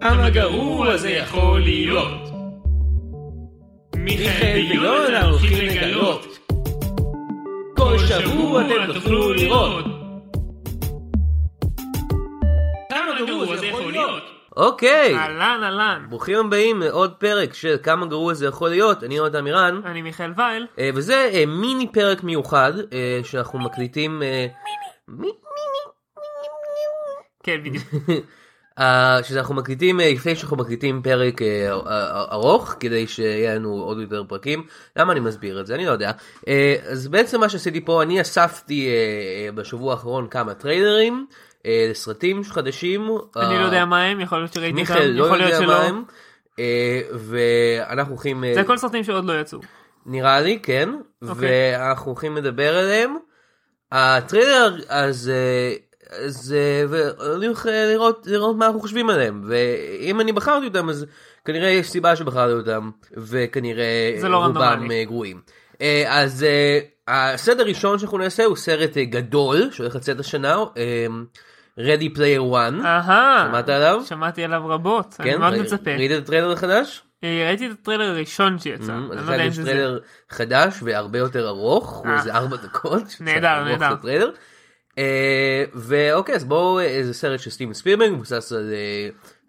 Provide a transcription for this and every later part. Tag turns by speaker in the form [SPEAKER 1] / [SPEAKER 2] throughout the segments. [SPEAKER 1] כמה גרוע זה יכול להיות. מיכאל ויונה הולכים לגלות. כל שבוע אתם תוכלו לראות. כמה גרוע זה יכול להיות.
[SPEAKER 2] אוקיי,
[SPEAKER 3] אהלן אהלן,
[SPEAKER 2] ברוכים הבאים לעוד פרק של כמה גרוע זה יכול להיות, אני יונתן מירן,
[SPEAKER 3] אני מיכאל וייל,
[SPEAKER 2] אה, וזה אה, מיני פרק מיוחד אה, שאנחנו מקליטים, אה, מי-
[SPEAKER 3] כן בדיוק,
[SPEAKER 2] אה, שאנחנו מקליטים אה, לפני שאנחנו מקליטים פרק אה, אה, ארוך כדי שיהיה לנו עוד יותר פרקים למה אני מסביר את זה אני לא יודע אה, אז בעצם מה שעשיתי פה אני אספתי אה, אה, בשבוע האחרון כמה טריילרים אה, לסרטים חדשים
[SPEAKER 3] אני
[SPEAKER 2] אה,
[SPEAKER 3] לא יודע מה הם, יכול להיות שראיתי אותם,
[SPEAKER 2] מיכאל לא
[SPEAKER 3] יכול להיות
[SPEAKER 2] יודע מה
[SPEAKER 3] שלא,
[SPEAKER 2] הם אה, ואנחנו הולכים אה,
[SPEAKER 3] זה הכל סרטים שעוד לא יצאו,
[SPEAKER 2] נראה לי כן
[SPEAKER 3] אוקיי.
[SPEAKER 2] ואנחנו הולכים לדבר עליהם. הטריילר אז אה, אז אה, ואני הולך אה, לראות לראות מה אנחנו חושבים עליהם ואם אני בחרתי אותם אז כנראה יש סיבה שבחרתי אותם וכנראה
[SPEAKER 3] זה לא
[SPEAKER 2] רובם
[SPEAKER 3] רנדומלי.
[SPEAKER 2] אה, גרועים. אה, אז אה, הסדר הראשון שאנחנו נעשה הוא סרט אה, גדול שהולך לצאת השנה אה, Ready Player One
[SPEAKER 3] אהה,
[SPEAKER 2] שמעת עליו?
[SPEAKER 3] שמעתי עליו רבות, אה, אני
[SPEAKER 2] כן?
[SPEAKER 3] מאוד
[SPEAKER 2] ראי-
[SPEAKER 3] מצפה,
[SPEAKER 2] ראית את הטריילר החדש?
[SPEAKER 3] אה, ראיתי את הטריילר הראשון שיצא,
[SPEAKER 2] Mm-hmm, אז
[SPEAKER 3] אני
[SPEAKER 2] עכשיו
[SPEAKER 3] לא יודע אם
[SPEAKER 2] Mm, יש
[SPEAKER 3] זה זה,
[SPEAKER 2] טריילר חדש והרבה יותר ארוך, הוא
[SPEAKER 3] אה.
[SPEAKER 2] איזה ארבע דקות.
[SPEAKER 3] נהדר,
[SPEAKER 2] ארוך
[SPEAKER 3] נהדר.
[SPEAKER 2] הטריילר. אה, ואוקיי אז בואו אה, זה סרט של סטיבן ספירברג מבוסס על אה,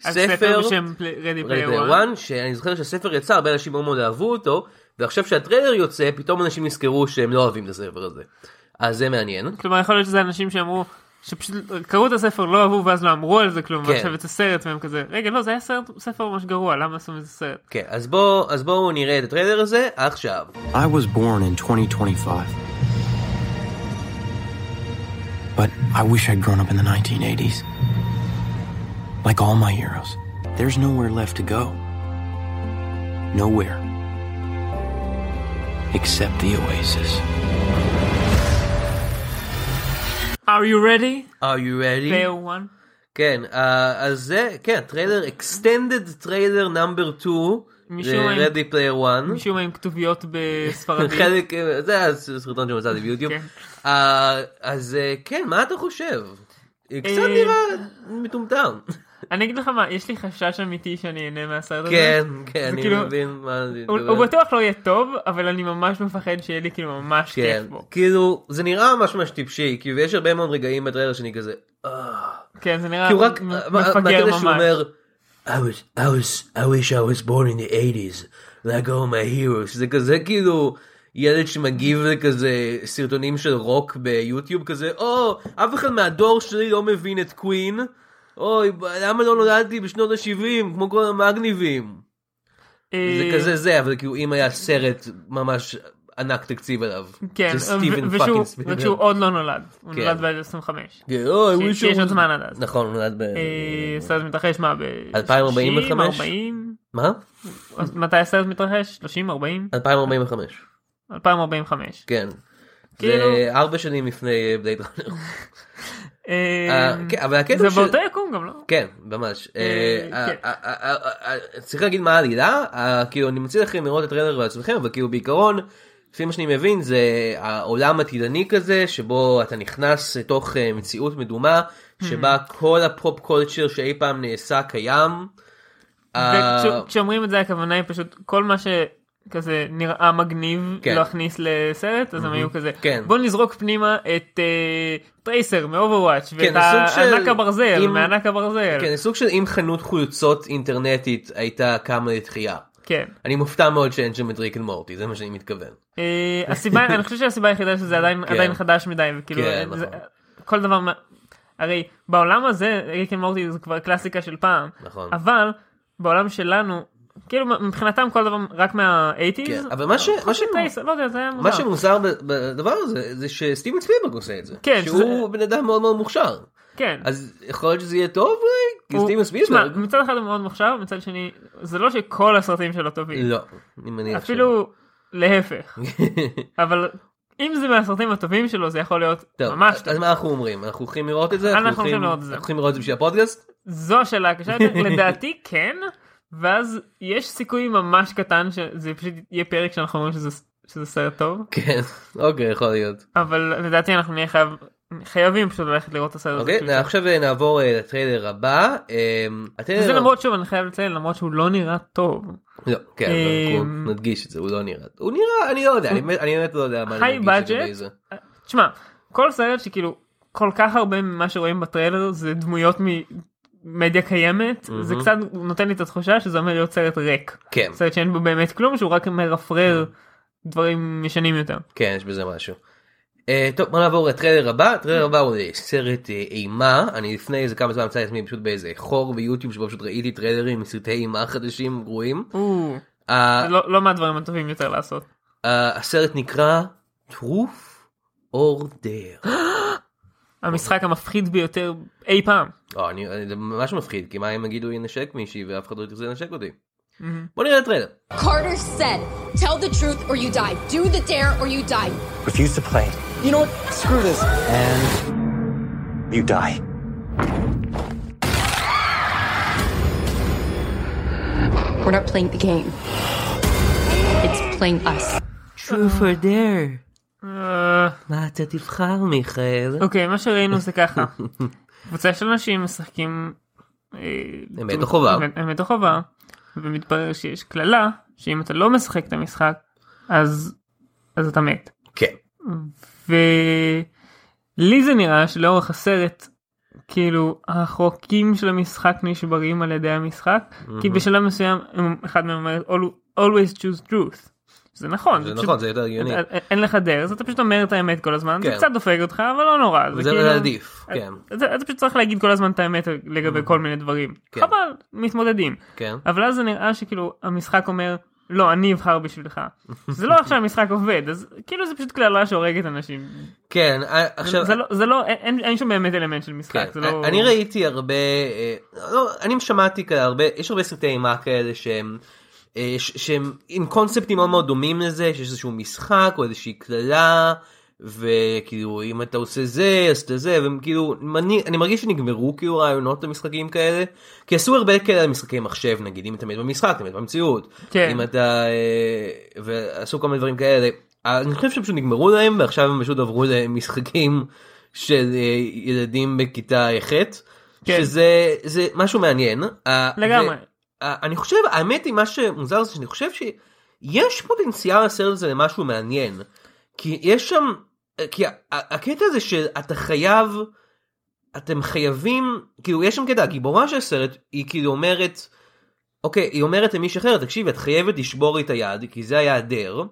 [SPEAKER 3] אז
[SPEAKER 2] ספר
[SPEAKER 3] בשם רדי
[SPEAKER 2] Ready
[SPEAKER 3] פלייר
[SPEAKER 2] Player One, שאני זוכר שהספר יצא הרבה אנשים מאוד מאוד אהבו אותו ועכשיו שהטריילר יוצא פתאום אנשים נזכרו שהם לא אוהבים את הספר הזה. אז זה מעניין.
[SPEAKER 3] כלומר יכול להיות שזה אנשים שאמרו, שפשוט קראו את הספר לא אהבו ואז לא אמרו על זה כלום,
[SPEAKER 2] כן.
[SPEAKER 3] ועכשיו יצא סרט והם כזה, רגע לא זה היה סרט- ספר ממש גרוע, למה עשו מזה סרט,
[SPEAKER 2] כן אז בואו אז בואו נראה את הטריילר הזה עכשיו.
[SPEAKER 4] I was born in 2025. But I wish I'd grown up in the 1980s. Like all my heroes, there's nowhere left to go. Nowhere. Except the oasis.
[SPEAKER 3] are you ready?
[SPEAKER 2] are you ready?
[SPEAKER 3] פלייר 1?
[SPEAKER 2] כן, אה, אז זה, כן, טריילר, extended טריילר נאמבר 2,
[SPEAKER 3] מישהו עם-
[SPEAKER 2] ל-ready אה, player 1.
[SPEAKER 3] משום מה עם כתוביות בספרדית.
[SPEAKER 2] חלק, אה, זה הסרטון שמצאתי ביוטיוב.
[SPEAKER 3] כן.
[SPEAKER 2] אה, אז אה, כן, מה אתה חושב? קצת
[SPEAKER 3] אה,
[SPEAKER 2] נראה מטומטם.
[SPEAKER 3] אני אגיד לך מה, יש לי חשש אמיתי שאני אהנה מהסרט הזה.
[SPEAKER 2] כן, כן, אני
[SPEAKER 3] כאילו-
[SPEAKER 2] מבין מה אני
[SPEAKER 3] הוא
[SPEAKER 2] מדבר.
[SPEAKER 3] הוא בטוח לא יהיה טוב, אבל אני ממש מפחד שיהיה לי כאילו ממש
[SPEAKER 2] כן,
[SPEAKER 3] כיף בו.
[SPEAKER 2] כאילו, זה נראה ממש ממש טיפשי, כאילו, יש הרבה מאוד רגעים בטריילר שאני כזה, אה,
[SPEAKER 3] כן, זה נראה
[SPEAKER 2] כי הוא רק, אה,
[SPEAKER 3] מ-
[SPEAKER 2] מה-
[SPEAKER 3] מפגר
[SPEAKER 2] מהקטע שהוא
[SPEAKER 3] ממש.
[SPEAKER 2] אומר, I was, I was, I wish I was born in the 80's, like all my heroes, שזה כזה כאילו ילד שמגיב לכזה סרטונים של רוק ביוטיוב כזה, או, אף אחד מהדור שלי לא מבין את קווין, אוי, למה לא נולדתי בשנות ה-70, כמו כל המגניבים.
[SPEAKER 3] אה,
[SPEAKER 2] זה כזה זה, אבל כאילו אם היה סרט ממש ענק תקציב עליו.
[SPEAKER 3] כן,
[SPEAKER 2] זה סטיבן
[SPEAKER 3] ו-
[SPEAKER 2] פאקינג
[SPEAKER 3] ושהוא-
[SPEAKER 2] ספילברג.
[SPEAKER 3] וכשהוא עוד לא נולד. הוא
[SPEAKER 2] כן.
[SPEAKER 3] נולד ב-25.
[SPEAKER 2] כן, "Oh, I wish I
[SPEAKER 3] שיש עוד
[SPEAKER 2] was-"
[SPEAKER 3] זמן עד אז.
[SPEAKER 2] נכון, הוא נולד ב...
[SPEAKER 3] אה, סרט מתרחש מה? ב-
[SPEAKER 2] 2045?
[SPEAKER 3] 60, 40?
[SPEAKER 2] מה?
[SPEAKER 3] אז מתי הסרט מתרחש? 30? 40?
[SPEAKER 2] 2045.
[SPEAKER 3] 2045.
[SPEAKER 2] כן.
[SPEAKER 3] כאילו-
[SPEAKER 2] זה ארבע שנים לפני בלייד ראנר.
[SPEAKER 3] אה,
[SPEAKER 2] אה, כן, אבל הקטע
[SPEAKER 3] זה
[SPEAKER 2] ש-
[SPEAKER 3] באותו יקום גם לא?
[SPEAKER 2] כן, ממש. אה,
[SPEAKER 3] אה,
[SPEAKER 2] אה,
[SPEAKER 3] כן.
[SPEAKER 2] אה, אה, אה, אה, צריך להגיד מה העלילה, אה, כאילו אני מציע לכם לראות את הטריילר בעצמכם, אבל כאילו בעיקרון, לפי מה שאני מבין, זה העולם עתידני כזה, שבו אתה נכנס לתוך אה, מציאות מדומה, שבה כל הפופ קולצ'ר שאי פעם נעשה קיים. אה,
[SPEAKER 3] וכשאומרים את זה הכוונה היא פשוט כל מה שכזה נראה מגניב
[SPEAKER 2] כן.
[SPEAKER 3] להכניס לסרט אז הם היו כזה
[SPEAKER 2] כן.
[SPEAKER 3] בוא נזרוק פנימה את אה, טרייסר מאוברוואץ' ואת
[SPEAKER 2] זה סוג כן, של-
[SPEAKER 3] הענק הברזל
[SPEAKER 2] אם-
[SPEAKER 3] מענק הברזל
[SPEAKER 2] כן, זה סוג של אם חנות חולצות אינטרנטית הייתה קמה לתחייה.
[SPEAKER 3] כן.
[SPEAKER 2] אני מופתע מאוד שאין שם את ריק אנד מורטי, זה מה שאני מתכוון.
[SPEAKER 3] אה, הסיבה אני חושב שהסיבה היחידה שזה עדיין
[SPEAKER 2] כן.
[SPEAKER 3] עדיין חדש מדי וכאילו
[SPEAKER 2] כן,
[SPEAKER 3] זה-
[SPEAKER 2] נכון.
[SPEAKER 3] כל דבר מה- הרי בעולם הזה ריק אנד מורטי זה כבר קלאסיקה של פעם
[SPEAKER 2] נכון.
[SPEAKER 3] אבל בעולם שלנו. כאילו מבחינתם כל דבר רק מה-80's,
[SPEAKER 2] כן, אבל מה ש- מה ש-
[SPEAKER 3] לא יודע, זה היה מוזר.
[SPEAKER 2] מה שמוזר ב- בדבר הזה זה שסטיבן ספילברג עושה את זה.
[SPEAKER 3] כן,
[SPEAKER 2] שהוא בן אדם מאוד מאוד מוכשר.
[SPEAKER 3] כן.
[SPEAKER 2] אז יכול להיות שזה יהיה טוב אולי? כי
[SPEAKER 3] הוא-
[SPEAKER 2] סטיבן ספילברג.
[SPEAKER 3] תשמע, מצד אחד הוא מאוד מוכשר, מצד שני, זה לא שכל הסרטים שלו טובים.
[SPEAKER 2] לא, אני מניח
[SPEAKER 3] אפילו להפך.
[SPEAKER 2] ש...
[SPEAKER 3] אבל אם זה מהסרטים הטובים שלו, זה יכול להיות
[SPEAKER 2] טוב,
[SPEAKER 3] ממש טוב.
[SPEAKER 2] אז מה אנחנו אומרים? אנחנו הולכים לראות את זה?
[SPEAKER 3] אנחנו הולכים לראות את זה.
[SPEAKER 2] אנחנו הולכים לראות את זה בשביל הפודקאסט?
[SPEAKER 3] זו השאלה הקשה יותר, לדעתי כן, ואז יש סיכוי ממש קטן שזה פשוט יהיה פרק שאנחנו אומרים שזה- שזה סרט טוב, לא,
[SPEAKER 2] כן, אוקיי, יכול להיות.
[SPEAKER 3] אבל לדעתי אנחנו נהיה חייב חייבים פשוט ללכת לראות את הסרט הזה.
[SPEAKER 2] אוקיי,
[SPEAKER 3] כאילו.
[SPEAKER 2] נע- עכשיו אה, נעבור אה, לטריילר הבא. אה, הטריילר...
[SPEAKER 3] זה למרות שוב אני חייב לציין למרות שהוא לא נראה טוב.
[SPEAKER 2] לא, כן, אבל
[SPEAKER 3] אה,
[SPEAKER 2] אנחנו נדגיש את זה, הוא לא נראה. הוא נראה, אני לא יודע, אני באמת- אני באמת לא יודע מה אני
[SPEAKER 3] היי
[SPEAKER 2] נדגיש
[SPEAKER 3] בדג'ט.
[SPEAKER 2] לגבי זה.
[SPEAKER 3] תשמע כל סרט שכאילו כל כך הרבה ממה שרואים בטריילר זה דמויות ממדיה קיימת זה קצת נותן לי את התחושה שזה עומד להיות סרט ריק.
[SPEAKER 2] כן,
[SPEAKER 3] סרט שאין בו באמת כלום שהוא רק מרפרר דברים ישנים יותר.
[SPEAKER 2] כן, יש בזה משהו. אה, טוב, בוא נעבור לטריילר הבא. הטריילר הבא הוא אה, סרט אה, אימה. אני לפני איזה כמה זמן מצאתי את עצמי פשוט באיזה חור ביוטיוב שבו פשוט ראיתי טריילרים מסרטי אימה חדשים גרועים.
[SPEAKER 3] או,
[SPEAKER 2] ה-
[SPEAKER 3] זה לא לא מהדברים הטובים יותר לעשות.
[SPEAKER 2] ה- הסרט נקרא טרוף אור דר.
[SPEAKER 3] המשחק המפחיד ביותר אי פעם.
[SPEAKER 2] לא, אני, אני- זה ממש מפחיד, כי מה אם יגידו ינשק מישהי ואף אחד לא ירצה לנשק אותי.
[SPEAKER 3] Mm-hmm.
[SPEAKER 2] בוא נראה את הטריילר.
[SPEAKER 5] Carter said, tell the truth or you die. Do the dare or you die.
[SPEAKER 4] Refuse to play. You know what? Screw this. And you die.
[SPEAKER 5] We're not playing the game. It's playing us.
[SPEAKER 2] Truth or dare.
[SPEAKER 3] אה,
[SPEAKER 2] מה אתה תבחר מיכאל?
[SPEAKER 3] אוקיי מה שראינו זה ככה קבוצה של אנשים משחקים אה,
[SPEAKER 2] אמת או חובה.
[SPEAKER 3] אמת- אמת או חובה ומתברר שיש קללה שאם אתה לא משחק את המשחק אז אז אתה מת
[SPEAKER 2] כן.
[SPEAKER 3] ולי זה נראה שלאורך הסרט כאילו החוקים של המשחק נשברים על ידי המשחק כי בשלב מסוים הם- אחד מהם אומר "Al- always choose truth. זה נכון
[SPEAKER 2] זה
[SPEAKER 3] פשוט-
[SPEAKER 2] נכון, זה יותר הגיוני.
[SPEAKER 3] אין- אין לך דרך אז אתה פשוט אומר את האמת כל הזמן
[SPEAKER 2] כן.
[SPEAKER 3] זה קצת דופק אותך אבל לא נורא
[SPEAKER 2] זה
[SPEAKER 3] כאילו- אה,
[SPEAKER 2] עדיף, כן.
[SPEAKER 3] אתה אתה פשוט צריך להגיד כל הזמן את האמת לגבי כל מיני דברים
[SPEAKER 2] כן.
[SPEAKER 3] חבל מתמודדים
[SPEAKER 2] כן.
[SPEAKER 3] אבל אז זה נראה שכאילו המשחק אומר לא אני אבחר בשבילך זה לא עכשיו המשחק עובד אז כאילו זה פשוט קללה שהורגת אנשים
[SPEAKER 2] כן, אה, עכשיו...
[SPEAKER 3] זה לא זה לא אין- אין אין שם באמת אלמנט של משחק
[SPEAKER 2] כן,
[SPEAKER 3] זה לא
[SPEAKER 2] אני ראיתי הרבה, אה, לא, אני שמעתי כאלה הרבה, יש הרבה סרטי אימה כאלה שהם, אה, ש- שהם עם קונספטים מאוד מאוד דומים לזה, שיש איזשהו משחק או איזושהי קללה, וכאילו אם אתה עושה זה אז אתה זה, והם כאילו, אני, אני מרגיש שנגמרו כאילו רעיונות למשחקים כאלה, כי עשו הרבה כאלה על משחקי מחשב נגיד, אם אתה מת במשחק, אתה מת במציאות,
[SPEAKER 3] כן.
[SPEAKER 2] אם אתה, אה, ועשו כל מיני דברים כאלה. אני חושב שהם פשוט נגמרו להם ועכשיו הם פשוט עברו למשחקים של אה, ילדים בכיתה ח'
[SPEAKER 3] כן.
[SPEAKER 2] שזה זה משהו מעניין. אה,
[SPEAKER 3] לגמרי.
[SPEAKER 2] ו- אה, אני חושב האמת היא מה שמוזר זה שאני חושב שיש פוטנציאל לסרט הזה למשהו מעניין כי יש שם אה, כי ה- ה- הקטע הזה שאתה חייב אתם חייבים כאילו יש שם קטע הגיבורה של הסרט היא כאילו אומרת. אוקיי, היא אומרת למישהי אחרת, תקשיבי, את חייבת לשבור לי את היד, כי זה היה הדר.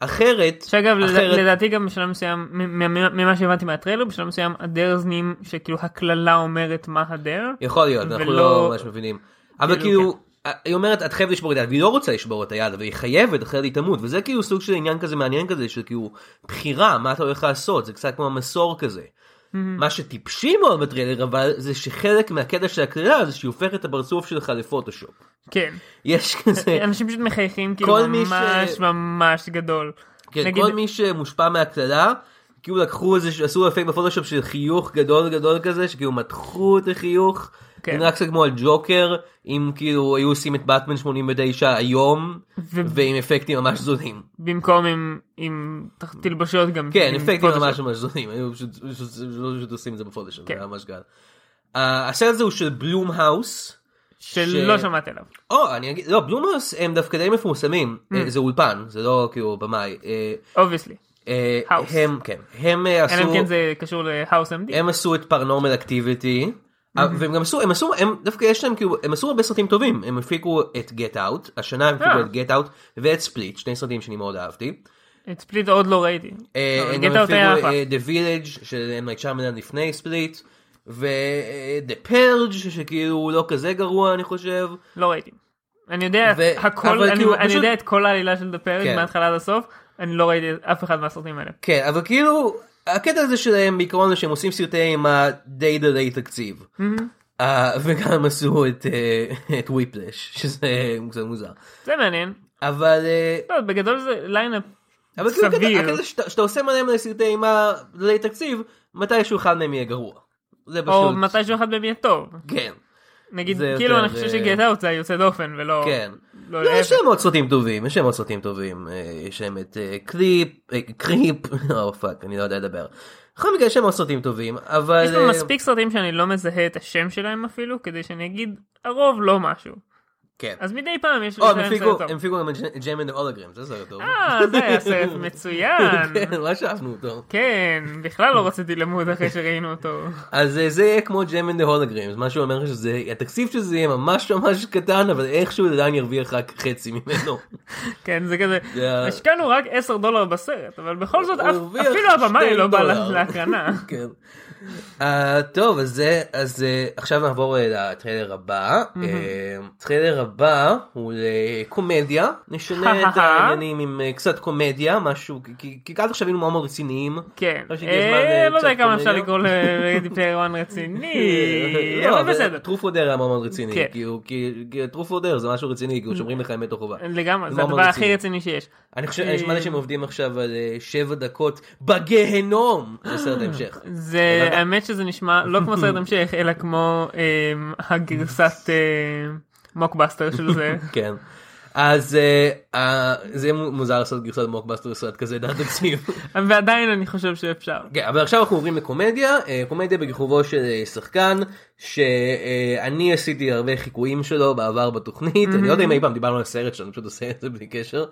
[SPEAKER 2] אחרת,
[SPEAKER 3] שאגב לד-
[SPEAKER 2] אחרת-
[SPEAKER 3] לדעתי גם בשלב מסוים מ- מ- מ- ממה שהבנתי מהטריילר בשלב מסוים הדרז נהיים שכאילו הקללה אומרת מה הדר
[SPEAKER 2] יכול להיות, אנחנו
[SPEAKER 3] ולא-
[SPEAKER 2] לא ממש מבינים. אבל
[SPEAKER 3] כאילו,
[SPEAKER 2] כאילו, היא אומרת, את חייבת לשבור את היד, והיא לא רוצה לשבור את היד, אבל היא חייבת, אחרת היא תמות, וזה כאילו סוג של עניין כזה מעניין כזה, של כאילו, בחירה, מה אתה הולך לעשות, זה קצת כמו המסור כזה. מה שטיפשי מאוד בטריילר, אבל זה שחלק מהקטע של הקללה זה שהיא הופכת את הפרצוף שלך לפוטושופ.
[SPEAKER 3] כן
[SPEAKER 2] יש כזה...
[SPEAKER 3] אנשים פשוט מחייכים כאילו
[SPEAKER 2] כל מי ש-
[SPEAKER 3] ממש ממש גדול.
[SPEAKER 2] כן,
[SPEAKER 3] נגיד-
[SPEAKER 2] כל מי שמושפע מהקללה, כאילו לקחו איזה, עשו אפקט בפוטושופ של חיוך גדול גדול כזה, שכאילו מתחו את החיוך.
[SPEAKER 3] כן.
[SPEAKER 2] כן. נראה קצת כמו על ג'וקר, אם כאילו היו עושים את באטמן 89 היום,
[SPEAKER 3] ו-
[SPEAKER 2] ועם אפקטים ממש זולים.
[SPEAKER 3] במקום עם עם תח- תלבושות גם
[SPEAKER 2] כן,
[SPEAKER 3] עם
[SPEAKER 2] אפקטים
[SPEAKER 3] פוטושופ.
[SPEAKER 2] ממש ממש זולים, היו פשוט פשוט- פשוט פשוט עושים את זה בפוטושופ, זה
[SPEAKER 3] כן.
[SPEAKER 2] היה ממש גל. אה, הסרט הזה הוא של בלום האוס.
[SPEAKER 3] שלא
[SPEAKER 2] ש-
[SPEAKER 3] שמעת עליו.
[SPEAKER 2] או, אני אגיד, לא, בלום האוס הם דווקא די מפורסמים,
[SPEAKER 3] Mm.
[SPEAKER 2] אה, זה אולפן, זה לא כאילו במאי. אה,
[SPEAKER 3] אובייסלי.
[SPEAKER 2] אה,
[SPEAKER 3] האוס.
[SPEAKER 2] הם, כן, הם אה, עשו...
[SPEAKER 3] אלא אם כן זה קשור להאוס אמדי.
[SPEAKER 2] הם עשו את פרנורמל אקטיביטי. והם גם עשו, הם עשו, הם דווקא יש להם כאילו, הם עשו הרבה סרטים טובים, הם הפיקו את גט אאוט, השנה הם הפיקו
[SPEAKER 3] אה.
[SPEAKER 2] את גט אאוט ואת ספליט, שני סרטים שאני מאוד אהבתי.
[SPEAKER 3] את ספליט עוד לא ראיתי.
[SPEAKER 2] אה,
[SPEAKER 3] אבל
[SPEAKER 2] הם
[SPEAKER 3] גט
[SPEAKER 2] גם
[SPEAKER 3] אאוט היה אחלה.
[SPEAKER 2] הפיקו את The Village של M. Night Shyamalan לפני ספליט, ו-The Purge שכאילו הוא לא כזה גרוע אני חושב,
[SPEAKER 3] לא ראיתי. אני יודע
[SPEAKER 2] ו-
[SPEAKER 3] הכל,
[SPEAKER 2] אבל
[SPEAKER 3] אני-
[SPEAKER 2] כאילו,
[SPEAKER 3] אני
[SPEAKER 2] פשוט-
[SPEAKER 3] יודע את כל העלילה של דפרק
[SPEAKER 2] כן.
[SPEAKER 3] מההתחלה עד הסוף. אני לא ראיתי אף אחד מהסרטים האלה.
[SPEAKER 2] כן, אבל כאילו, הקטע הזה שלהם בעיקרון זה שהם עושים סרטי אימה די דלי תקציב. אה, וגם עשו את וויפלש, שזה קצת מוזר.
[SPEAKER 3] זה מעניין.
[SPEAKER 2] אבל אה,
[SPEAKER 3] לא, בגדול זה ליינאפ.
[SPEAKER 2] אבל כאילו
[SPEAKER 3] סביר.
[SPEAKER 2] הקטע- הקטע שאתה- שאתה עושה מלא מלא סרטי אימה בלי תקציב, מתישהו אחד מהם יהיה גרוע. זה פשוט,
[SPEAKER 3] או מתישהו אחד באמת טוב.
[SPEAKER 2] כן,
[SPEAKER 3] נגיד
[SPEAKER 2] זה
[SPEAKER 3] כאילו
[SPEAKER 2] יותר,
[SPEAKER 3] אני חושב
[SPEAKER 2] אה,
[SPEAKER 3] שגט אאוט זה היוצא דופן ולא.
[SPEAKER 2] כן.
[SPEAKER 3] לא,
[SPEAKER 2] לא,
[SPEAKER 3] להפך.
[SPEAKER 2] יש להם עוד סרטים טובים, יש להם עוד סרטים טובים, אה, יש להם את אה, קליפ, אה, קריפ, או פאק, אני לא יודע לדבר. בכל מקרה יש שם עוד סרטים טובים, אבל...
[SPEAKER 3] יש לו
[SPEAKER 2] אה,
[SPEAKER 3] מספיק סרטים שאני לא מזהה את השם שלהם אפילו, כדי שאני אגיד, הרוב לא משהו.
[SPEAKER 2] כן.
[SPEAKER 3] אז מדי פעם יש
[SPEAKER 2] או,
[SPEAKER 3] לי
[SPEAKER 2] הם
[SPEAKER 3] סרט
[SPEAKER 2] הפיקו-
[SPEAKER 3] טוב.
[SPEAKER 2] הם הפיקו גם את ג'ם אנד הולוגרם, זה סרט טוב.
[SPEAKER 3] אה, זה היה סרט מצוין.
[SPEAKER 2] כן, לא שאפנו אותו. כן.
[SPEAKER 3] כן, בכלל לא רציתי למות אחרי שראינו אותו.
[SPEAKER 2] אז אה, זה יהיה כמו ג'ם אנד הולוגרם, מה שאומר לך שזה, התקציב של זה יהיה ממש ממש קטן, אבל איכשהו זה עדיין ירוויח רק חצי ממנו.
[SPEAKER 3] כן, זה כזה,
[SPEAKER 2] זה-
[SPEAKER 3] השקענו רק 10 דולר בסרט, אבל בכל זאת
[SPEAKER 2] הוא
[SPEAKER 3] אף-
[SPEAKER 2] הרוויח
[SPEAKER 3] אפילו הבמאי
[SPEAKER 2] שני
[SPEAKER 3] לא בא
[SPEAKER 2] דולר.
[SPEAKER 3] לה- להקרנה.
[SPEAKER 2] כן. אה, טוב, אז זה, אז אה, עכשיו נעבור אה, לטריילר הבא. אה, הטריילר הבא הוא לקומדיה. נשנה את העניינים עם אה, קצת קומדיה, משהו, כי- כי עד עכשיו היינו מאוד מאוד רציניים.
[SPEAKER 3] כן,
[SPEAKER 2] לא שהגיע הזמן,
[SPEAKER 3] אה,
[SPEAKER 2] אה,
[SPEAKER 3] לא יודע
[SPEAKER 2] קצת
[SPEAKER 3] כמה אפשר
[SPEAKER 2] קומדיה?
[SPEAKER 3] לקרוא לדיפלרון רציני,
[SPEAKER 2] לא,
[SPEAKER 3] אבל בסדר.
[SPEAKER 2] טרוף אודר היה מאוד מאוד רציני,
[SPEAKER 3] כן. Mm.
[SPEAKER 2] כאילו, כי כי טרוף אודר זה משהו רציני, כאילו שומרים לך אמת או חובה.
[SPEAKER 3] לגמרי,
[SPEAKER 2] זה
[SPEAKER 3] זה
[SPEAKER 2] לא מאוד
[SPEAKER 3] הדבר
[SPEAKER 2] מאוד
[SPEAKER 3] הכי רציני שיש.
[SPEAKER 2] אני חושב, נשמע לי שהם עובדים עכשיו על אה, שבע דקות בגהנום, זה סרט ההמשך.
[SPEAKER 3] אה, זה, האמת שזה נשמע לא כמו סרט המשך, אלא כמו אמ, הגרסת אמ, מוקבאסטר של זה.
[SPEAKER 2] כן. אז אה, אה, זה מוזר לעשות גרסת מוקבאסטר לסרט כזה דעת תקציב.
[SPEAKER 3] ועדיין אני חושב שאפשר.
[SPEAKER 2] כן, אבל עכשיו אנחנו עוברים לקומדיה, אה, קומדיה בכיכובו של אה, שחקן שאני עשיתי הרבה חיקויים שלו בעבר בתוכנית, אני לא יודע אם אי פעם דיברנו על הסרט שלו, אני פשוט עושה את זה בלי קשר.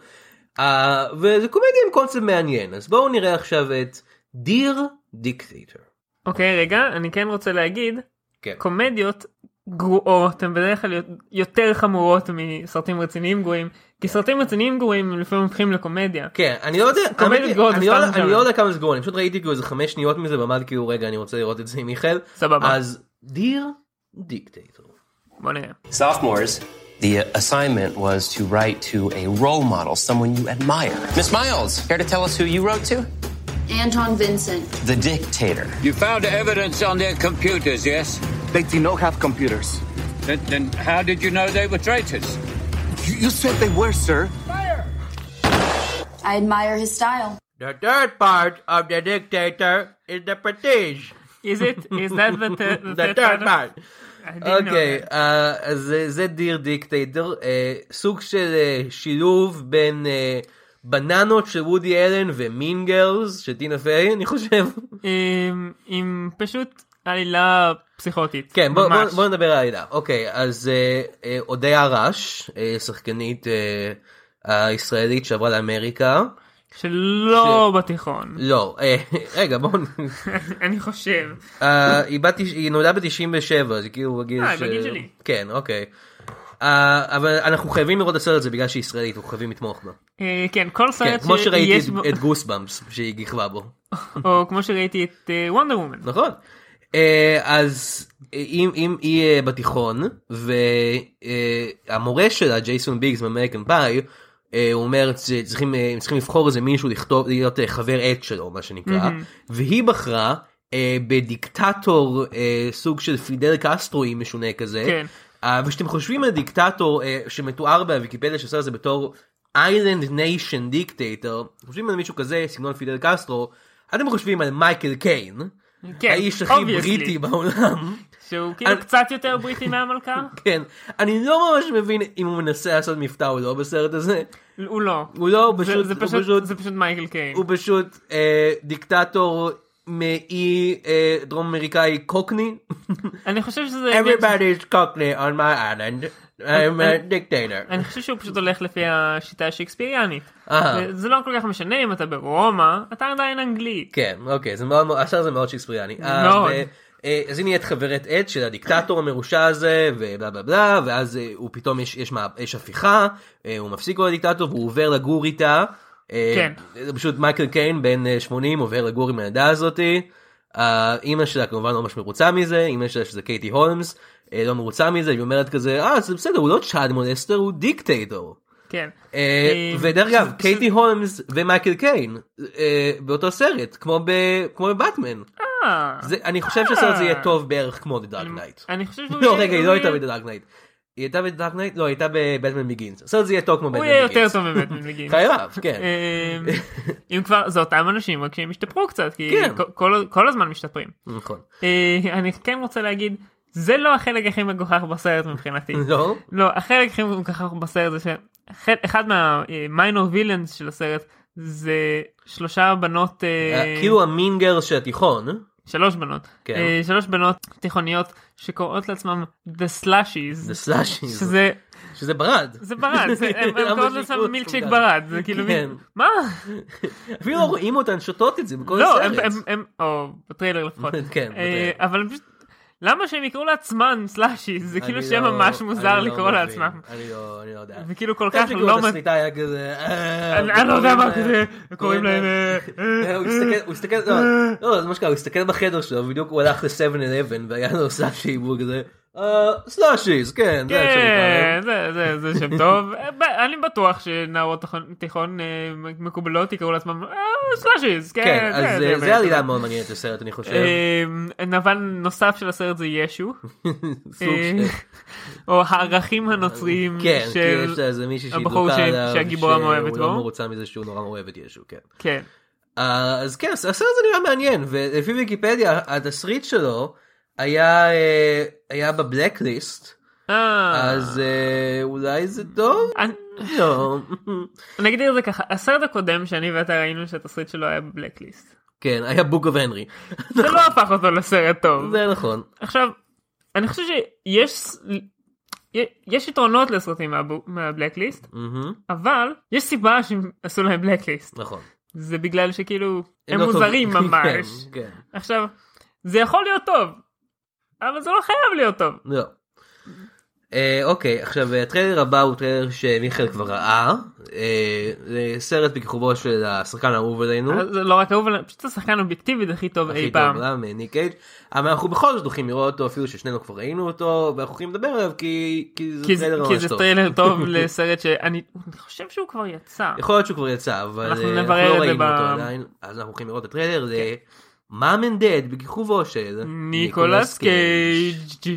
[SPEAKER 2] אה, וזה קומדיה עם קונספט מעניין, אז בואו נראה עכשיו את דיר דיקטייטר.
[SPEAKER 3] אוקיי, רגע, אני כן רוצה להגיד,
[SPEAKER 2] כן.
[SPEAKER 3] קומדיות גרועות הן בדרך כלל יותר חמורות מסרטים רציניים גרועים, כי סרטים רציניים גרועים הם לפעמים הופכים לקומדיה.
[SPEAKER 2] כן, אני לא יודע,
[SPEAKER 3] קומדיה
[SPEAKER 2] האמת היא,
[SPEAKER 3] גרועה, זה
[SPEAKER 2] אני לא
[SPEAKER 3] סתם
[SPEAKER 2] יודע- אני
[SPEAKER 3] משעמם.
[SPEAKER 2] לא יודע כמה זה גרוע, אני פשוט ראיתי כאילו איזה חמש שניות מזה ועמד כאילו רגע אני רוצה לראות את זה עם מיכאל,
[SPEAKER 3] סבבה.
[SPEAKER 2] אז דיר דיקטייטור.
[SPEAKER 3] בוא נראה.
[SPEAKER 6] Sophomores, the assignment was to write to a role model, someone you admire. Miss Miles, care to tell us who you wrote to?
[SPEAKER 7] Anton Vincent.
[SPEAKER 6] The dictator.
[SPEAKER 8] You found evidence on their computers, yes?
[SPEAKER 9] They do not have computers.
[SPEAKER 8] Then, then how did you know they were traitors?
[SPEAKER 9] You, you said they were, sir.
[SPEAKER 7] I admire his style.
[SPEAKER 2] The third part of the dictator is the prestige.
[SPEAKER 3] Is it? Is that the, the,
[SPEAKER 2] The
[SPEAKER 3] third
[SPEAKER 2] third
[SPEAKER 3] part?
[SPEAKER 2] part.
[SPEAKER 3] I didn't know
[SPEAKER 2] אוקיי,
[SPEAKER 3] that.
[SPEAKER 2] אה, אז זה- זה דיר דיקטייטר, אה, סוג של אה, שילוב בין אה, בננות של וודי אלן ומין גרלס של טינה פיי, אני חושב.
[SPEAKER 3] עם, עם פשוט עלילה פסיכוטית.
[SPEAKER 2] כן, בוא- בוא
[SPEAKER 3] ממש.
[SPEAKER 2] בוא נדבר על העדה. אוקיי, אז אה, אה, אודיה רש, אה, שחקנית אה, הישראלית שעברה לאמריקה.
[SPEAKER 3] שלא בתיכון,
[SPEAKER 2] לא, אה, רגע, בואו... נ-
[SPEAKER 3] אני חושב.
[SPEAKER 2] אה, היא בת- היא נולדה ב-97, אז היא כאילו בגיל
[SPEAKER 3] אה, בגיל שלי.
[SPEAKER 2] כן, אוקיי. אה, אבל אנחנו חייבים לראות את הסרט הזה בגלל שהיא ישראלית, אנחנו חייבים לתמוך בה.
[SPEAKER 3] אה, כן, כל
[SPEAKER 2] כן,
[SPEAKER 3] סרט
[SPEAKER 2] כמו שראיתי
[SPEAKER 3] שיש
[SPEAKER 2] את-
[SPEAKER 3] בו,
[SPEAKER 2] את גוסבאמפס שהיא גיחבה בו,
[SPEAKER 3] או כמו שראיתי את וונדר וומן.
[SPEAKER 2] נכון? אה, אז אה, אם אם היא אה, בתיכון והמורה שלה ג'ייסון ביגס מאמריקן פאי אה, הוא אומר שצריכים אה, הם צריכים לבחור איזה מישהו לכתוב להיות אה, חבר עט שלו מה שנקרא והיא בחרה אה, בדיקטטור אה, סוג של פידל קסטרואי משונה כזה.
[SPEAKER 3] כן.
[SPEAKER 2] אה, וכשאתם חושבים על דיקטטור אה, שמתואר בוויקיפדיה שעושה את זה בתור איילנד ניישן דיקטטור, חושבים על מישהו כזה סגנון פידל קסטרו, אתם חושבים על מייקל קיין,
[SPEAKER 3] כן,
[SPEAKER 2] לא, האיש הכי
[SPEAKER 3] obviously.
[SPEAKER 2] בריטי בעולם,
[SPEAKER 3] שהוא כאילו
[SPEAKER 2] אני-
[SPEAKER 3] קצת יותר בריטי מהמלכה?
[SPEAKER 2] כן, אני לא ממש מבין אם הוא מנסה לעשות מבטא או לא בסרט הזה,
[SPEAKER 3] הוא לא.
[SPEAKER 2] הוא לא, הוא
[SPEAKER 3] זה-
[SPEAKER 2] פשוט-
[SPEAKER 3] זה
[SPEAKER 2] הוא
[SPEAKER 3] פשוט-
[SPEAKER 2] פשוט-
[SPEAKER 3] זה פשוט מייקל קיין.
[SPEAKER 2] הוא פשוט אה, דיקטטור מאי אה, דרום אמריקאי קוקני,
[SPEAKER 3] אני חושב שזה...
[SPEAKER 2] everybody's cockney on my island, I'm a dictator.
[SPEAKER 3] אני חושב שהוא פשוט הולך לפי השיטה השקספיריאנית.
[SPEAKER 2] אה.
[SPEAKER 3] זה- זה לא כל כך משנה אם אתה ברומא, אתה עדיין אנגלי.
[SPEAKER 2] כן, אוקיי, זה מאוד, מאוד- השאר זה מאוד שקספריאני. אה,
[SPEAKER 3] מאוד.
[SPEAKER 2] ו- אה, אז היא נהיית חברת עט של הדיקטטור המרושע הזה, ובלה בלה בלה, ואז אה, הוא פתאום יש, יש, מה- יש הפיכה, אה, הוא מפסיק להיות הדיקטטור והוא עובר לגור איתה. אה,
[SPEAKER 3] כן.
[SPEAKER 2] זה פשוט מייקל קיין בן אה, 80 עובר לגור עם הילדה הזאתי. אה, אימא שלה כמובן לא ממש מרוצה מזה, אימא שלה שזה קייטי הולמס, אה, לא מרוצה מזה, היא אומרת כזה, אה זה בסדר, הוא לא צ'אד מולסטר, הוא דיקטטור.
[SPEAKER 3] כן.
[SPEAKER 2] אה,
[SPEAKER 3] אה,
[SPEAKER 2] ודרך אגב,
[SPEAKER 3] שזה-
[SPEAKER 2] קייטי הולמס ומייקל קיין אה, באותו סרט, כמו ב- כמו בבטמן.
[SPEAKER 3] אה,
[SPEAKER 2] זה- אני חושב שהסרט הזה יהיה טוב בערך כמו The Dark Knight.
[SPEAKER 3] אני חושב שהוא
[SPEAKER 2] לא,
[SPEAKER 3] יהיה-
[SPEAKER 2] רגע, היא
[SPEAKER 3] הוא
[SPEAKER 2] לא הייתה
[SPEAKER 3] יהיה-
[SPEAKER 2] ב-The Dark Knight. היא הייתה ב-The Dark Knight? לא, היא הייתה בבטמן מגינס. הסרט הזה יהיה טוב כמו בטמן
[SPEAKER 3] הוא
[SPEAKER 2] מגינס.
[SPEAKER 3] יהיה יותר טוב באמת מבגיל.
[SPEAKER 2] חייב, כן.
[SPEAKER 3] אמ, אם כבר זה אותם אנשים רק שהם השתפרו קצת כי
[SPEAKER 2] כן.
[SPEAKER 3] כל- כל- כל הזמן משתפרים.
[SPEAKER 2] נכון.
[SPEAKER 3] אה, אני כן רוצה להגיד זה לא החלק הכי מגוחך בסרט מבחינתי.
[SPEAKER 2] לא?
[SPEAKER 3] לא החלק הכי מגוחך בסרט זה שאחד מהמיינור וילאנס אה, של הסרט זה שלושה בנות, אה,
[SPEAKER 2] אה, כאילו המינגר של התיכון.
[SPEAKER 3] שלוש בנות,
[SPEAKER 2] כן.
[SPEAKER 3] אה, שלוש בנות תיכוניות שקוראות לעצמן The
[SPEAKER 2] זה
[SPEAKER 3] Slushies,
[SPEAKER 2] סלאשים.
[SPEAKER 3] שזה
[SPEAKER 2] שזה ברד.
[SPEAKER 3] זה ברד, זה- הם הם
[SPEAKER 2] למה
[SPEAKER 3] קוראות
[SPEAKER 2] שיקרו
[SPEAKER 3] לעצמם מילצ'ייק
[SPEAKER 2] אותם?
[SPEAKER 3] ברד, זה כאילו
[SPEAKER 2] כן.
[SPEAKER 3] מין, מה?
[SPEAKER 2] אפילו לא רואים אותן שותות את זה בכל
[SPEAKER 3] לא, הם-
[SPEAKER 2] הסרט.
[SPEAKER 3] הם- הם, או בטריילר לפחות,
[SPEAKER 2] כן,
[SPEAKER 3] אה,
[SPEAKER 2] בטריילר.
[SPEAKER 3] אבל פשוט, למה שהם יקראו לעצמן סלאשיז, זה כאילו
[SPEAKER 2] אני
[SPEAKER 3] שם
[SPEAKER 2] לא-
[SPEAKER 3] ממש מוזר
[SPEAKER 2] אני לא
[SPEAKER 3] לקרוא
[SPEAKER 2] מבין.
[SPEAKER 3] לעצמם,
[SPEAKER 2] אני לא אני לא יודע.
[SPEAKER 3] וכאילו כל
[SPEAKER 2] איך
[SPEAKER 3] כך
[SPEAKER 2] שקראו
[SPEAKER 3] לא,
[SPEAKER 2] את
[SPEAKER 3] מת-
[SPEAKER 2] הסריטה היה כזה... אה,
[SPEAKER 3] אני אני לא יודע מה
[SPEAKER 2] קוראים
[SPEAKER 3] כזה,
[SPEAKER 2] להם-
[SPEAKER 3] קוראים להם, אה, אה,
[SPEAKER 2] הוא הסתכל, הוא הסתכל, לא, לא, זה מה שקרה, הוא הסתכל בחדר שלו, בדיוק הוא הלך ל-7-11 והיה לו סלאשי, והוא כזה, אה, סלאשיז, כן, זה איך שנקרא להם.
[SPEAKER 3] כן, זה- זה- זה שם טוב. אה, ב- אני בטוח שנערות תיכון- תיכון אה, מקובלות יקראו לעצמם סלאשיז, כן.
[SPEAKER 2] כן, אז אה,
[SPEAKER 3] באמת.
[SPEAKER 2] זה עלילה מאוד מעניינת לסרט, אני חושב.
[SPEAKER 3] אה, נבל נוסף של הסרט זה ישו,
[SPEAKER 2] סוג
[SPEAKER 3] אה,
[SPEAKER 2] של...
[SPEAKER 3] או הערכים הנוצריים
[SPEAKER 2] כן, כי יש
[SPEAKER 3] של...
[SPEAKER 2] לה איזה מישהי שהיא
[SPEAKER 3] הבחור ש-
[SPEAKER 2] דלוקה עליו,
[SPEAKER 3] שהגיבורה מאוהבת
[SPEAKER 2] שהוא
[SPEAKER 3] בו.
[SPEAKER 2] לא מרוצה מזה שהוא נורא מאוהב את ישו, כן.
[SPEAKER 3] כן,
[SPEAKER 2] אה, אז כן, הסרט הזה נראה מעניין, ולפי ויקיפדיה, התסריט שלו היה אה, היה בבלקליסט,
[SPEAKER 3] אה,
[SPEAKER 2] אז אה, אולי זה טוב?
[SPEAKER 3] אני-
[SPEAKER 2] לא.
[SPEAKER 3] אני אגדיר את זה ככה, הסרט הקודם שאני ואתה ראינו שהתסריט שלו היה בבלקליסט.
[SPEAKER 2] כן, היה בוק אוף הנרי.
[SPEAKER 3] זה לא הפך אותו לסרט טוב.
[SPEAKER 2] זה נכון.
[SPEAKER 3] עכשיו, אני חושב שיש ס- י- יש יתרונות לסרטים מהבו- מהבלקליסט,
[SPEAKER 2] מהמם,
[SPEAKER 3] אבל יש סיבה שהם עשו להם בלקליסט.
[SPEAKER 2] נכון.
[SPEAKER 3] זה בגלל שכאילו הם
[SPEAKER 2] לא טוב.
[SPEAKER 3] מוזרים ממש.
[SPEAKER 2] כן, כן.
[SPEAKER 3] עכשיו, זה יכול להיות טוב, אבל זה לא חייב להיות טוב.
[SPEAKER 2] לא. אה, אוקיי, עכשיו הטריילר הבא הוא טריילר שמיכאל כבר ראה. אה, זה סרט בכיכובו של השחקן האהוב עלינו.
[SPEAKER 3] אז זה לא רק אהוב, אלא פשוט השחקן אובייקטיבית הכי טוב
[SPEAKER 2] אה? הכי
[SPEAKER 3] אי
[SPEAKER 2] טוב
[SPEAKER 3] פעם.
[SPEAKER 2] בעולם, אה, ניק קייג', אבל אנחנו בכל זאת הולכים לראות אותו אפילו ששנינו כבר ראינו אותו ואנחנו הולכים לדבר עליו כי כי זה
[SPEAKER 3] כי זה-
[SPEAKER 2] טריילר
[SPEAKER 3] כי
[SPEAKER 2] ממש
[SPEAKER 3] זה
[SPEAKER 2] טוב.
[SPEAKER 3] טריילר טוב לסרט שאני אני חושב שהוא כבר יצא.
[SPEAKER 2] יכול להיות שהוא כבר יצא אבל
[SPEAKER 3] אנחנו
[SPEAKER 2] אה,
[SPEAKER 3] נברר
[SPEAKER 2] לא
[SPEAKER 3] את זה
[SPEAKER 2] ראינו
[SPEAKER 3] ב- כן.
[SPEAKER 2] אותו עדיין אז אנחנו הולכים לראות את הטריילר זה מאם אנד דד בכיכובו של
[SPEAKER 3] ניקולס קייג'.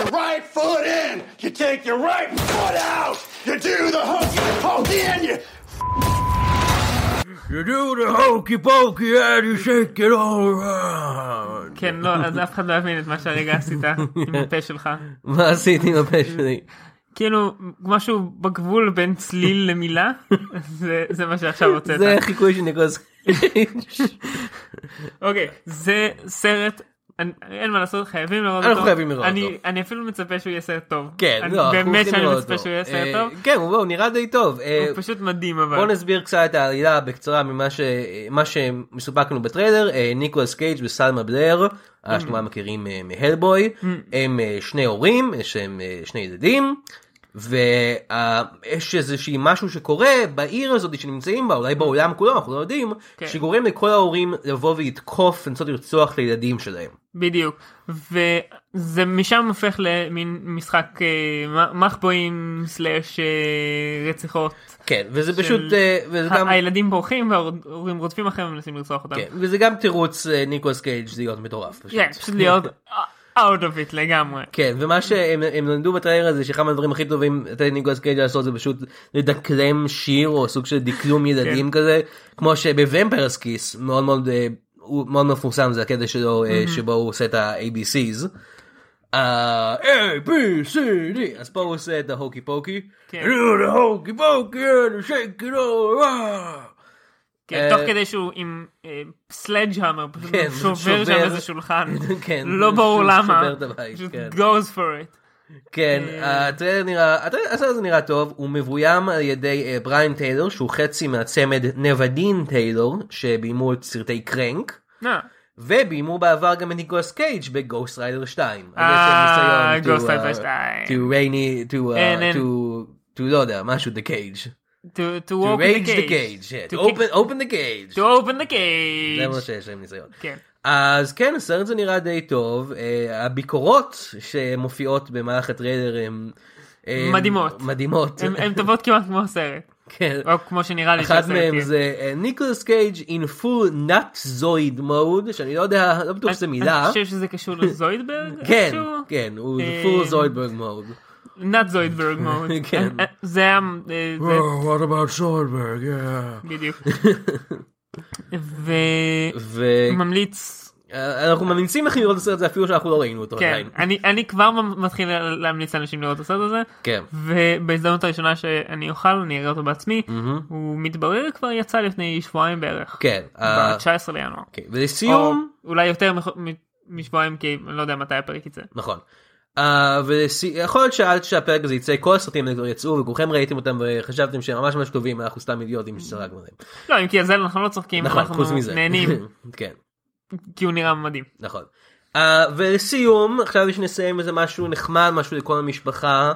[SPEAKER 10] your right foot in, you take your right foot out, you do the hokey pokey, and you
[SPEAKER 2] You do the hokey pokey and you shake it all around.
[SPEAKER 3] כן, לא, אז אף אחד לא יבין את מה שהרגע עשית עם הפה שלך.
[SPEAKER 2] מה עשיתי עם הפה שלי?
[SPEAKER 3] כאילו, משהו בגבול בין צליל למילה, זה- זה מה שעכשיו הוצאת.
[SPEAKER 2] זה חיקוי של ניקולס קייג'.
[SPEAKER 3] אוקיי, זה סרט, אני- אין מה לעשות, חייבים לראות אותו.
[SPEAKER 2] אנחנו חייבים לראות
[SPEAKER 3] אני-
[SPEAKER 2] אותו.
[SPEAKER 3] אני אפילו מצפה שהוא יהיה סרט טוב.
[SPEAKER 2] כן,
[SPEAKER 3] אני-
[SPEAKER 2] לא, אנחנו
[SPEAKER 3] באמת
[SPEAKER 2] הולכים
[SPEAKER 3] שאני
[SPEAKER 2] לראות
[SPEAKER 3] מצפה
[SPEAKER 2] אותו.
[SPEAKER 3] שהוא יהיה סרט
[SPEAKER 2] אה,
[SPEAKER 3] טוב.
[SPEAKER 2] כן, הוא הוא נראה די טוב. אה,
[SPEAKER 3] הוא פשוט מדהים אבל.
[SPEAKER 2] בוא נסביר קצת את העלילה בקצרה ממה ש... מה שמסופק לנו בטריילר, אה, ניקולס קייג' וסלמה בלר, אה,
[SPEAKER 3] Mm.
[SPEAKER 2] שכמובן מכירים אה, מהלבוי, הם אה, שני הורים, יש להם אה, שני ילדים, ויש איזושהי משהו שקורה בעיר הזאת שנמצאים בה, אולי בעולם כולו, אנחנו לא יודעים,
[SPEAKER 3] כן.
[SPEAKER 2] שגורם לכל ההורים לבוא ולתקוף, לנסות לרצוח את הילדים שלהם.
[SPEAKER 3] בדיוק. וזה משם הופך למין משחק אה, מ- מחבואים סלאש אה, רציחות.
[SPEAKER 2] כן, וזה
[SPEAKER 3] של-
[SPEAKER 2] פשוט, אה, וזה גם...
[SPEAKER 3] ה- הילדים בורחים וההורים רודפים אחריהם ומנסים לרצוח אותם.
[SPEAKER 2] כן, וזה גם תירוץ אה, ניקולס קייג' להיות מטורף. פשוט.
[SPEAKER 3] כן, פשוט להיות out of it לגמרי.
[SPEAKER 2] כן, ומה שהם הם למדו בטריילר הזה שאחד מהדברים הכי טובים לתת ניקולס קייג' לעשות זה פשוט לדקלם שיר או סוג של דקלום ילדים כזה, כמו שבוומפרס כיס מאוד מאוד אה, הוא מאוד מפורסם זה הקטע שלו אה, שבו הוא עושה את ה-ABC's. אה, A, B, C, D, אז פה הוא עושה את ההוקי פוקי.
[SPEAKER 3] כן.
[SPEAKER 2] "Do the hokey pokey and shake it all around."
[SPEAKER 3] כן,
[SPEAKER 2] אה,
[SPEAKER 3] תוך כדי שהוא עם סלאג' המר, פשוט
[SPEAKER 2] כן,
[SPEAKER 3] שובר שם
[SPEAKER 2] שובר-
[SPEAKER 3] איזה שולחן.
[SPEAKER 2] כן,
[SPEAKER 3] לא ברור
[SPEAKER 2] שהוא
[SPEAKER 3] למה.
[SPEAKER 2] שובר את הבית,
[SPEAKER 3] פשוט
[SPEAKER 2] כן.
[SPEAKER 3] goes for it.
[SPEAKER 2] כן,
[SPEAKER 3] אה.
[SPEAKER 2] הטריילר נראה, הטריילר- הסרט הזה נראה טוב, הוא מבוים על ידי אה, בריין טיילור שהוא חצי מהצמד נבדין טיילור שביימו את סרטי קרנק
[SPEAKER 3] אה,
[SPEAKER 2] וביימו בעבר גם את ניקולס קייג' בגוסט ריידר 2. אז
[SPEAKER 3] אה,
[SPEAKER 2] יש להם ניסיון
[SPEAKER 3] Ghost
[SPEAKER 2] to,
[SPEAKER 3] Rider
[SPEAKER 2] uh,
[SPEAKER 3] 2.
[SPEAKER 2] To rainy, to, uh,
[SPEAKER 3] אין, אין.
[SPEAKER 2] to, to לא יודע, משהו the cage.
[SPEAKER 3] To- to
[SPEAKER 2] To
[SPEAKER 3] walk in
[SPEAKER 2] rage
[SPEAKER 3] the
[SPEAKER 2] the cage,
[SPEAKER 3] cage.
[SPEAKER 2] yeah,
[SPEAKER 3] To
[SPEAKER 2] to
[SPEAKER 3] kick-
[SPEAKER 2] open- open the cage.
[SPEAKER 3] To open the
[SPEAKER 2] זה מה
[SPEAKER 3] cage.
[SPEAKER 2] שיש להם ניסיון.
[SPEAKER 3] כן.
[SPEAKER 2] אז כן, הסרט הזה נראה די טוב. אה, הביקורות שמופיעות במהלך הטריילר הן... הן
[SPEAKER 3] מדהימות.
[SPEAKER 2] מדהימות.
[SPEAKER 3] הן- אוקיי, הן טובות כמעט כמו הסרט.
[SPEAKER 2] כן.
[SPEAKER 3] או כמו שנראה לי
[SPEAKER 2] אחד
[SPEAKER 3] שהסרט
[SPEAKER 2] מהם
[SPEAKER 3] יהיה.
[SPEAKER 2] זה אה, ניקולס קייג' in full nutzoid mode, שאני לא יודע, לא בטוח
[SPEAKER 3] אני-
[SPEAKER 2] שזו מילה.
[SPEAKER 3] אני חושב שזה קשור לזוידברג?
[SPEAKER 2] כן,
[SPEAKER 3] איכשהו?
[SPEAKER 2] כן, הוא
[SPEAKER 3] אה,
[SPEAKER 2] full זוידברג mode.
[SPEAKER 3] not זוידברג מאוד.
[SPEAKER 2] כן.
[SPEAKER 3] זה היה... אה, זה-
[SPEAKER 2] Oh, what about זוידברג?
[SPEAKER 3] בדיוק. וממליץ
[SPEAKER 2] אנחנו ממליצים לכם לראות את הסרט הזה אפילו שאנחנו לא ראינו אותו
[SPEAKER 3] כן,
[SPEAKER 2] עדיין.
[SPEAKER 3] אני, אני כבר מתחיל להמליץ לאנשים לראות את הסרט הזה,
[SPEAKER 2] כן.
[SPEAKER 3] ובהזדמנות הראשונה שאני אוכל אני אראה אותו בעצמי, הוא מתברר כבר יצא לפני שבועיים בערך,
[SPEAKER 2] Mm-hmm. כן. אה,
[SPEAKER 3] ב-19 לינואר,
[SPEAKER 2] אוקיי,
[SPEAKER 3] או
[SPEAKER 2] ולסיום,
[SPEAKER 3] אולי יותר מח- מ- משבועיים כי אני לא יודע מתי הפרק יצא.
[SPEAKER 2] נכון. אה, ולסי- יכול להיות שעד שהפרק הזה יצא כל הסרטים האלה כבר יצאו וכולכם ראיתם אותם וחשבתם שהם ממש ממש טובים אנחנו סתם אידיוטים שסרגנו עליהם.
[SPEAKER 3] לא, אם כי על זה אנחנו לא צוחקים,
[SPEAKER 2] נכון,
[SPEAKER 3] אנחנו
[SPEAKER 2] חוץ מזה.
[SPEAKER 3] נהנים,
[SPEAKER 2] כן,
[SPEAKER 3] כי הוא נראה מדהים.
[SPEAKER 2] נכון. אה, ולסיום, עכשיו שנסיים איזה משהו נחמד, משהו לכל המשפחה.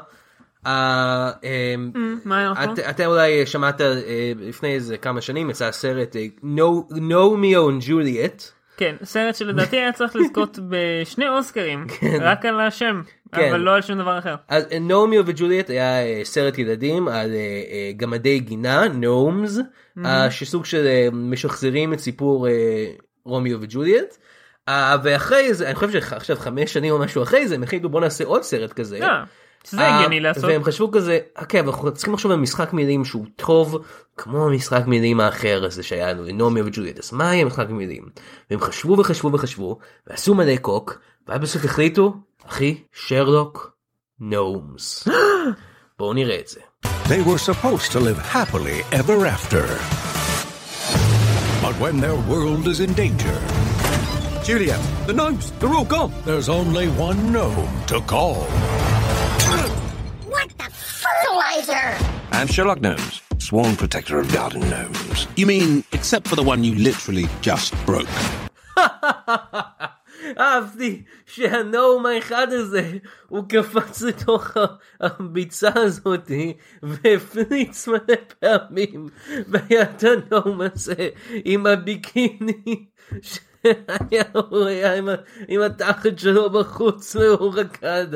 [SPEAKER 2] אה, אמ,
[SPEAKER 3] Mm, מה אנחנו?
[SPEAKER 2] את- אתה אולי שמעת אה, לפני איזה כמה שנים יצא הסרט אה, No- Nomeo and Juliet.
[SPEAKER 3] כן, סרט שלדעתי היה צריך לזכות בשני אוסקרים, רק על השם,
[SPEAKER 2] כן.
[SPEAKER 3] אבל לא על שום דבר אחר.
[SPEAKER 2] אז אה, נומיו וג'וליאט היה אה, סרט ילדים על אה, אה, גמדי גינה, נומס, שסוג של אה, משחזרים את סיפור אה, רומיו וג'וליאט. אה, ואחרי זה, אני חושב שעכשיו חמש שנים או משהו אחרי זה, הם החליטו בוא נעשה עוד סרט כזה.
[SPEAKER 3] אה, שזה
[SPEAKER 2] אה,
[SPEAKER 3] הגיוני לעשות.
[SPEAKER 2] והם חשבו כזה, אוקיי, אבל אנחנו צריכים לחשוב על משחק מילים שהוא טוב, כמו המשחק מילים האחר הזה שהיה לנו, נעמי וג'וליאט, אז מה יהיה משחק מילים? והם חשבו וחשבו וחשבו, ועשו מלא קוק, ואז בסוף החליטו, אחי, שרלוק נומס. בואו נראה את זה.
[SPEAKER 11] They were supposed to live happily ever after. But when their world is in danger,
[SPEAKER 9] Julia, the gnomes, they're all gone.
[SPEAKER 11] there's only one gnome to call.
[SPEAKER 7] What the fertilizer?
[SPEAKER 12] I'm Sherlock Gnomes, sworn protector of garden gnomes. You mean, except for the one you literally just broke.
[SPEAKER 2] אהבתי שהנום האחד הזה, הוא קפץ לתוך ה- הביצה הזאתי, והפליץ מלא פעמים, והיה את הנום הזה עם הביקיני, שהיה הוא היה עם, ה- עם התחת שלו בחוץ והוא רקד.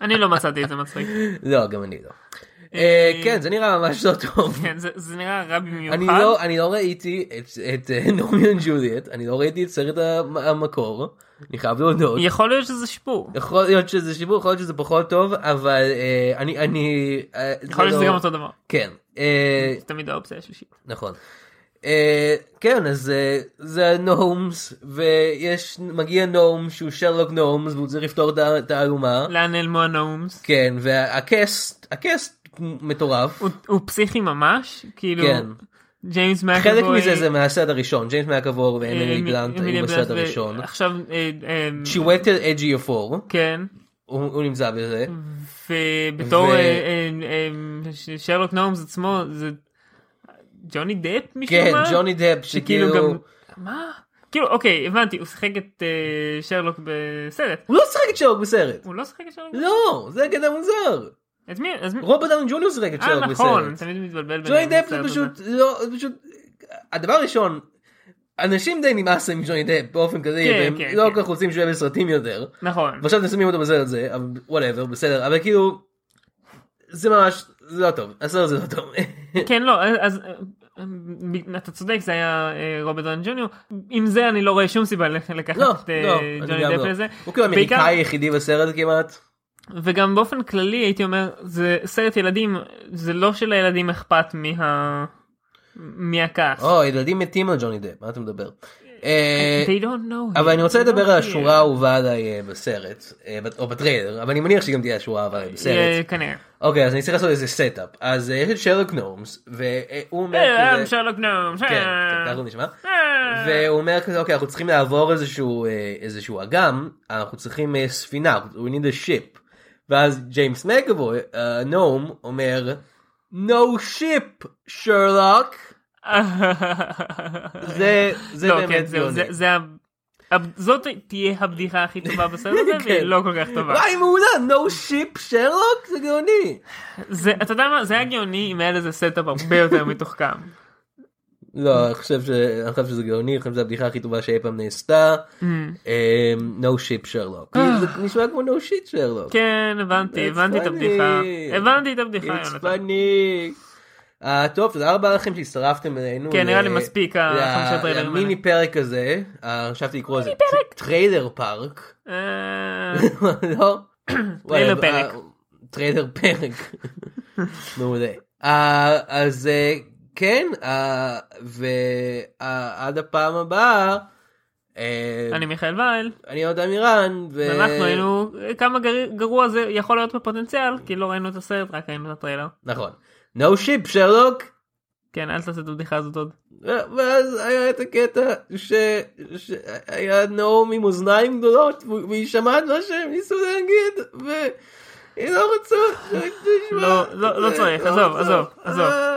[SPEAKER 3] אני לא מצאתי את זה מצחיק.
[SPEAKER 2] לא, גם אני לא. אה, כן, זה נראה ממש לא טוב.
[SPEAKER 3] כן, זה- זה נראה רע במיוחד.
[SPEAKER 2] אני לא, אני לא ראיתי את, את אה, נעמי וג'וליאט, אני לא ראיתי את סרט המ- המקור, אני חייב להודות.
[SPEAKER 3] יכול להיות שזה שיפור.
[SPEAKER 2] יכול להיות שזה שיפור, יכול להיות שזה פחות טוב, אבל אה, אני, אני, אה, זה
[SPEAKER 3] יכול להיות שזה
[SPEAKER 2] לא-
[SPEAKER 3] גם אותו דבר.
[SPEAKER 2] כן, אה,
[SPEAKER 3] זה תמיד האופציה השלישית.
[SPEAKER 2] נכון. אה, כן, אז אה, זה הנומס, ויש, מגיע נום שהוא שרלוק נומס, והוא צריך לפתור את ה- את האלומה.
[SPEAKER 3] לאן נעלמו הנאומס?
[SPEAKER 2] כן, והקסט, הקסט מטורף.
[SPEAKER 3] הוא- הוא פסיכי ממש? כאילו,
[SPEAKER 2] כן.
[SPEAKER 3] ג'יימס מקאבוי.
[SPEAKER 2] חלק מזה זה מהסרט הראשון, ג'יימס מקאבור
[SPEAKER 3] לא אה,
[SPEAKER 2] ואמילי
[SPEAKER 3] מ-
[SPEAKER 2] בלאנט
[SPEAKER 3] אמילי
[SPEAKER 2] היו בסרט
[SPEAKER 3] בלאנט ו-
[SPEAKER 2] הראשון.
[SPEAKER 3] עכשיו, אה, אה,
[SPEAKER 2] צ'יווטל אג'י אפור,
[SPEAKER 3] כן.
[SPEAKER 2] הוא הוא נמצא בזה.
[SPEAKER 3] ובתור
[SPEAKER 2] ו-
[SPEAKER 3] אה, אה, אה, ש- שרלוק נאומס עצמו זה ג'וני דפ משום
[SPEAKER 2] כן,
[SPEAKER 3] מה?
[SPEAKER 2] ג'וני דפ,
[SPEAKER 3] שכאילו
[SPEAKER 2] שכאילו...
[SPEAKER 3] כאילו גם... מה? כאילו אוקיי הבנתי הוא שיחק את אה, שרלוק בסרט.
[SPEAKER 2] הוא לא שיחק את שרלוק בסרט.
[SPEAKER 3] הוא לא שיחק את שרלוק?
[SPEAKER 2] לא, זה קטע מוזר.
[SPEAKER 3] את מי? אז מי?
[SPEAKER 2] רוברט דאון ג'וניור שיחק את שרלוק
[SPEAKER 3] אה
[SPEAKER 2] בסרט.
[SPEAKER 3] נכון, תמיד מתבלבל
[SPEAKER 2] ג'וני
[SPEAKER 3] ביניהם,
[SPEAKER 2] דאפ זה
[SPEAKER 3] הסרט הזה.
[SPEAKER 2] פשוט, לא, זה פשוט, הדבר הראשון, אנשים די נמאס להם מג'וני דאפ באופן כזה,
[SPEAKER 3] כן,
[SPEAKER 2] והם
[SPEAKER 3] כן,
[SPEAKER 2] לא
[SPEAKER 3] כן.
[SPEAKER 2] כל כך רוצים שהוא יהיה בסרטים יותר.
[SPEAKER 3] נכון.
[SPEAKER 2] ועכשיו אתם שמים אותו בסרט הזה, אבל וואטאבר, בסדר, אבל כאילו, זה ממש, זה לא טוב, הסרט הזה לא טוב.
[SPEAKER 3] כן לא אז- אז אה, אה, אתה צודק זה היה אה, רוברט דאון ג'וניור עם זה אני לא רואה שום סיבה לק-
[SPEAKER 2] לא,
[SPEAKER 3] לקחת את אה,
[SPEAKER 2] לא, אני
[SPEAKER 3] ג'וני
[SPEAKER 2] גם
[SPEAKER 3] דאפ
[SPEAKER 2] לא.
[SPEAKER 3] לזה.
[SPEAKER 2] הוא כאילו
[SPEAKER 3] בעיקר-
[SPEAKER 2] האמריקאי היחידי בסרט כמעט.
[SPEAKER 3] וגם באופן כללי הייתי אומר זה סרט ילדים זה לא שלילדים אכפת מה... מהכעס.
[SPEAKER 2] או, ילדים מתים על ג'וני דאפ, מה אתה מדבר? אה,
[SPEAKER 3] They don't know.
[SPEAKER 2] אבל אני רוצה
[SPEAKER 3] They
[SPEAKER 2] לדבר
[SPEAKER 3] don't
[SPEAKER 2] על
[SPEAKER 3] care.
[SPEAKER 2] השורה האהובה עליי אה, בסרט, אה, בת- או בטריילר, אבל אני מניח שגם תהיה השורה האהובה עליי בסרט.
[SPEAKER 3] אה, כנראה.
[SPEAKER 2] אוקיי אז אני צריך לעשות איזה סטאפ אז אה, יש את שרלוק נורמס והוא אומר
[SPEAKER 3] אה, I'm
[SPEAKER 2] כזה
[SPEAKER 3] Sherlock Gnomes.
[SPEAKER 2] כן, כן,
[SPEAKER 3] אה.
[SPEAKER 2] ככה הוא נשמע
[SPEAKER 3] אה.
[SPEAKER 2] והוא אומר כזה אוקיי אנחנו צריכים לעבור איזשהו אה, איזשהו אגם אנחנו צריכים אה, ספינה we need a ship ואז ג'יימס מקאבוי נום אומר no ship שרלוק זה זה
[SPEAKER 3] לא, כן,
[SPEAKER 2] באמת
[SPEAKER 3] זהו, זה-
[SPEAKER 2] גאוני.
[SPEAKER 3] זה ה- הב- זאת תהיה הבדיחה הכי טובה בסרט הזה והיא
[SPEAKER 2] כן.
[SPEAKER 3] לא כל כך טובה.
[SPEAKER 2] וואי מעולה no ship שרלוק זה גאוני
[SPEAKER 3] זה- אתה יודע מה זה היה גאוני אם היה לזה סטאפ הרבה יותר מתוחכם.
[SPEAKER 2] לא, אני חושב, ש... אני חושב שזה גאוני, אני חושב שזו הבדיחה הכי טובה שאי פעם נעשתה.
[SPEAKER 3] Mm.
[SPEAKER 2] אה, No ship Sherlock. כאילו, זה נשמע כמו No shit Sherlock.
[SPEAKER 3] אה. כן הבנתי
[SPEAKER 2] It's
[SPEAKER 3] הבנתי את
[SPEAKER 2] funny.
[SPEAKER 3] הבדיחה. הבנתי את הבדיחה.
[SPEAKER 2] It's
[SPEAKER 3] יונתן.
[SPEAKER 2] funny. אה, טוב, תודה רבה לכם שהצטרפתם אלינו.
[SPEAKER 3] כן, נראה לי
[SPEAKER 2] ל-
[SPEAKER 3] מספיק,
[SPEAKER 2] ל-
[SPEAKER 3] החמישה טריילרים
[SPEAKER 2] למיני
[SPEAKER 3] האלה.
[SPEAKER 2] פרק הזה, אה, חשבתי לקרוא לזה ט- טריילר פארק.
[SPEAKER 3] אה,
[SPEAKER 2] לא?
[SPEAKER 3] טריילר
[SPEAKER 2] וואלה,
[SPEAKER 3] פרק.
[SPEAKER 2] אה, טריילר פרק. מעולה. אה, אז אה, כן, ועד הפעם הבאה. אה,
[SPEAKER 3] אני מיכאל וייל.
[SPEAKER 2] אני עוד אמירן.
[SPEAKER 3] ואנחנו היינו, כמה גרוע זה יכול להיות בפוטנציאל, כי לא ראינו את הסרט, רק ראינו את הטריילר.
[SPEAKER 2] נכון. No ship, שרלוק.
[SPEAKER 3] כן, אל תעשה את הבדיחה הזאת עוד.
[SPEAKER 2] אה, ואז היה את הקטע שהיה נאום עם אוזניים גדולות, והיא שמעה את מה שהם ניסו להגיד, והיא לא אה, רצו.
[SPEAKER 3] לא צריך, לא, עזוב, עזוב, עזוב.
[SPEAKER 2] אה,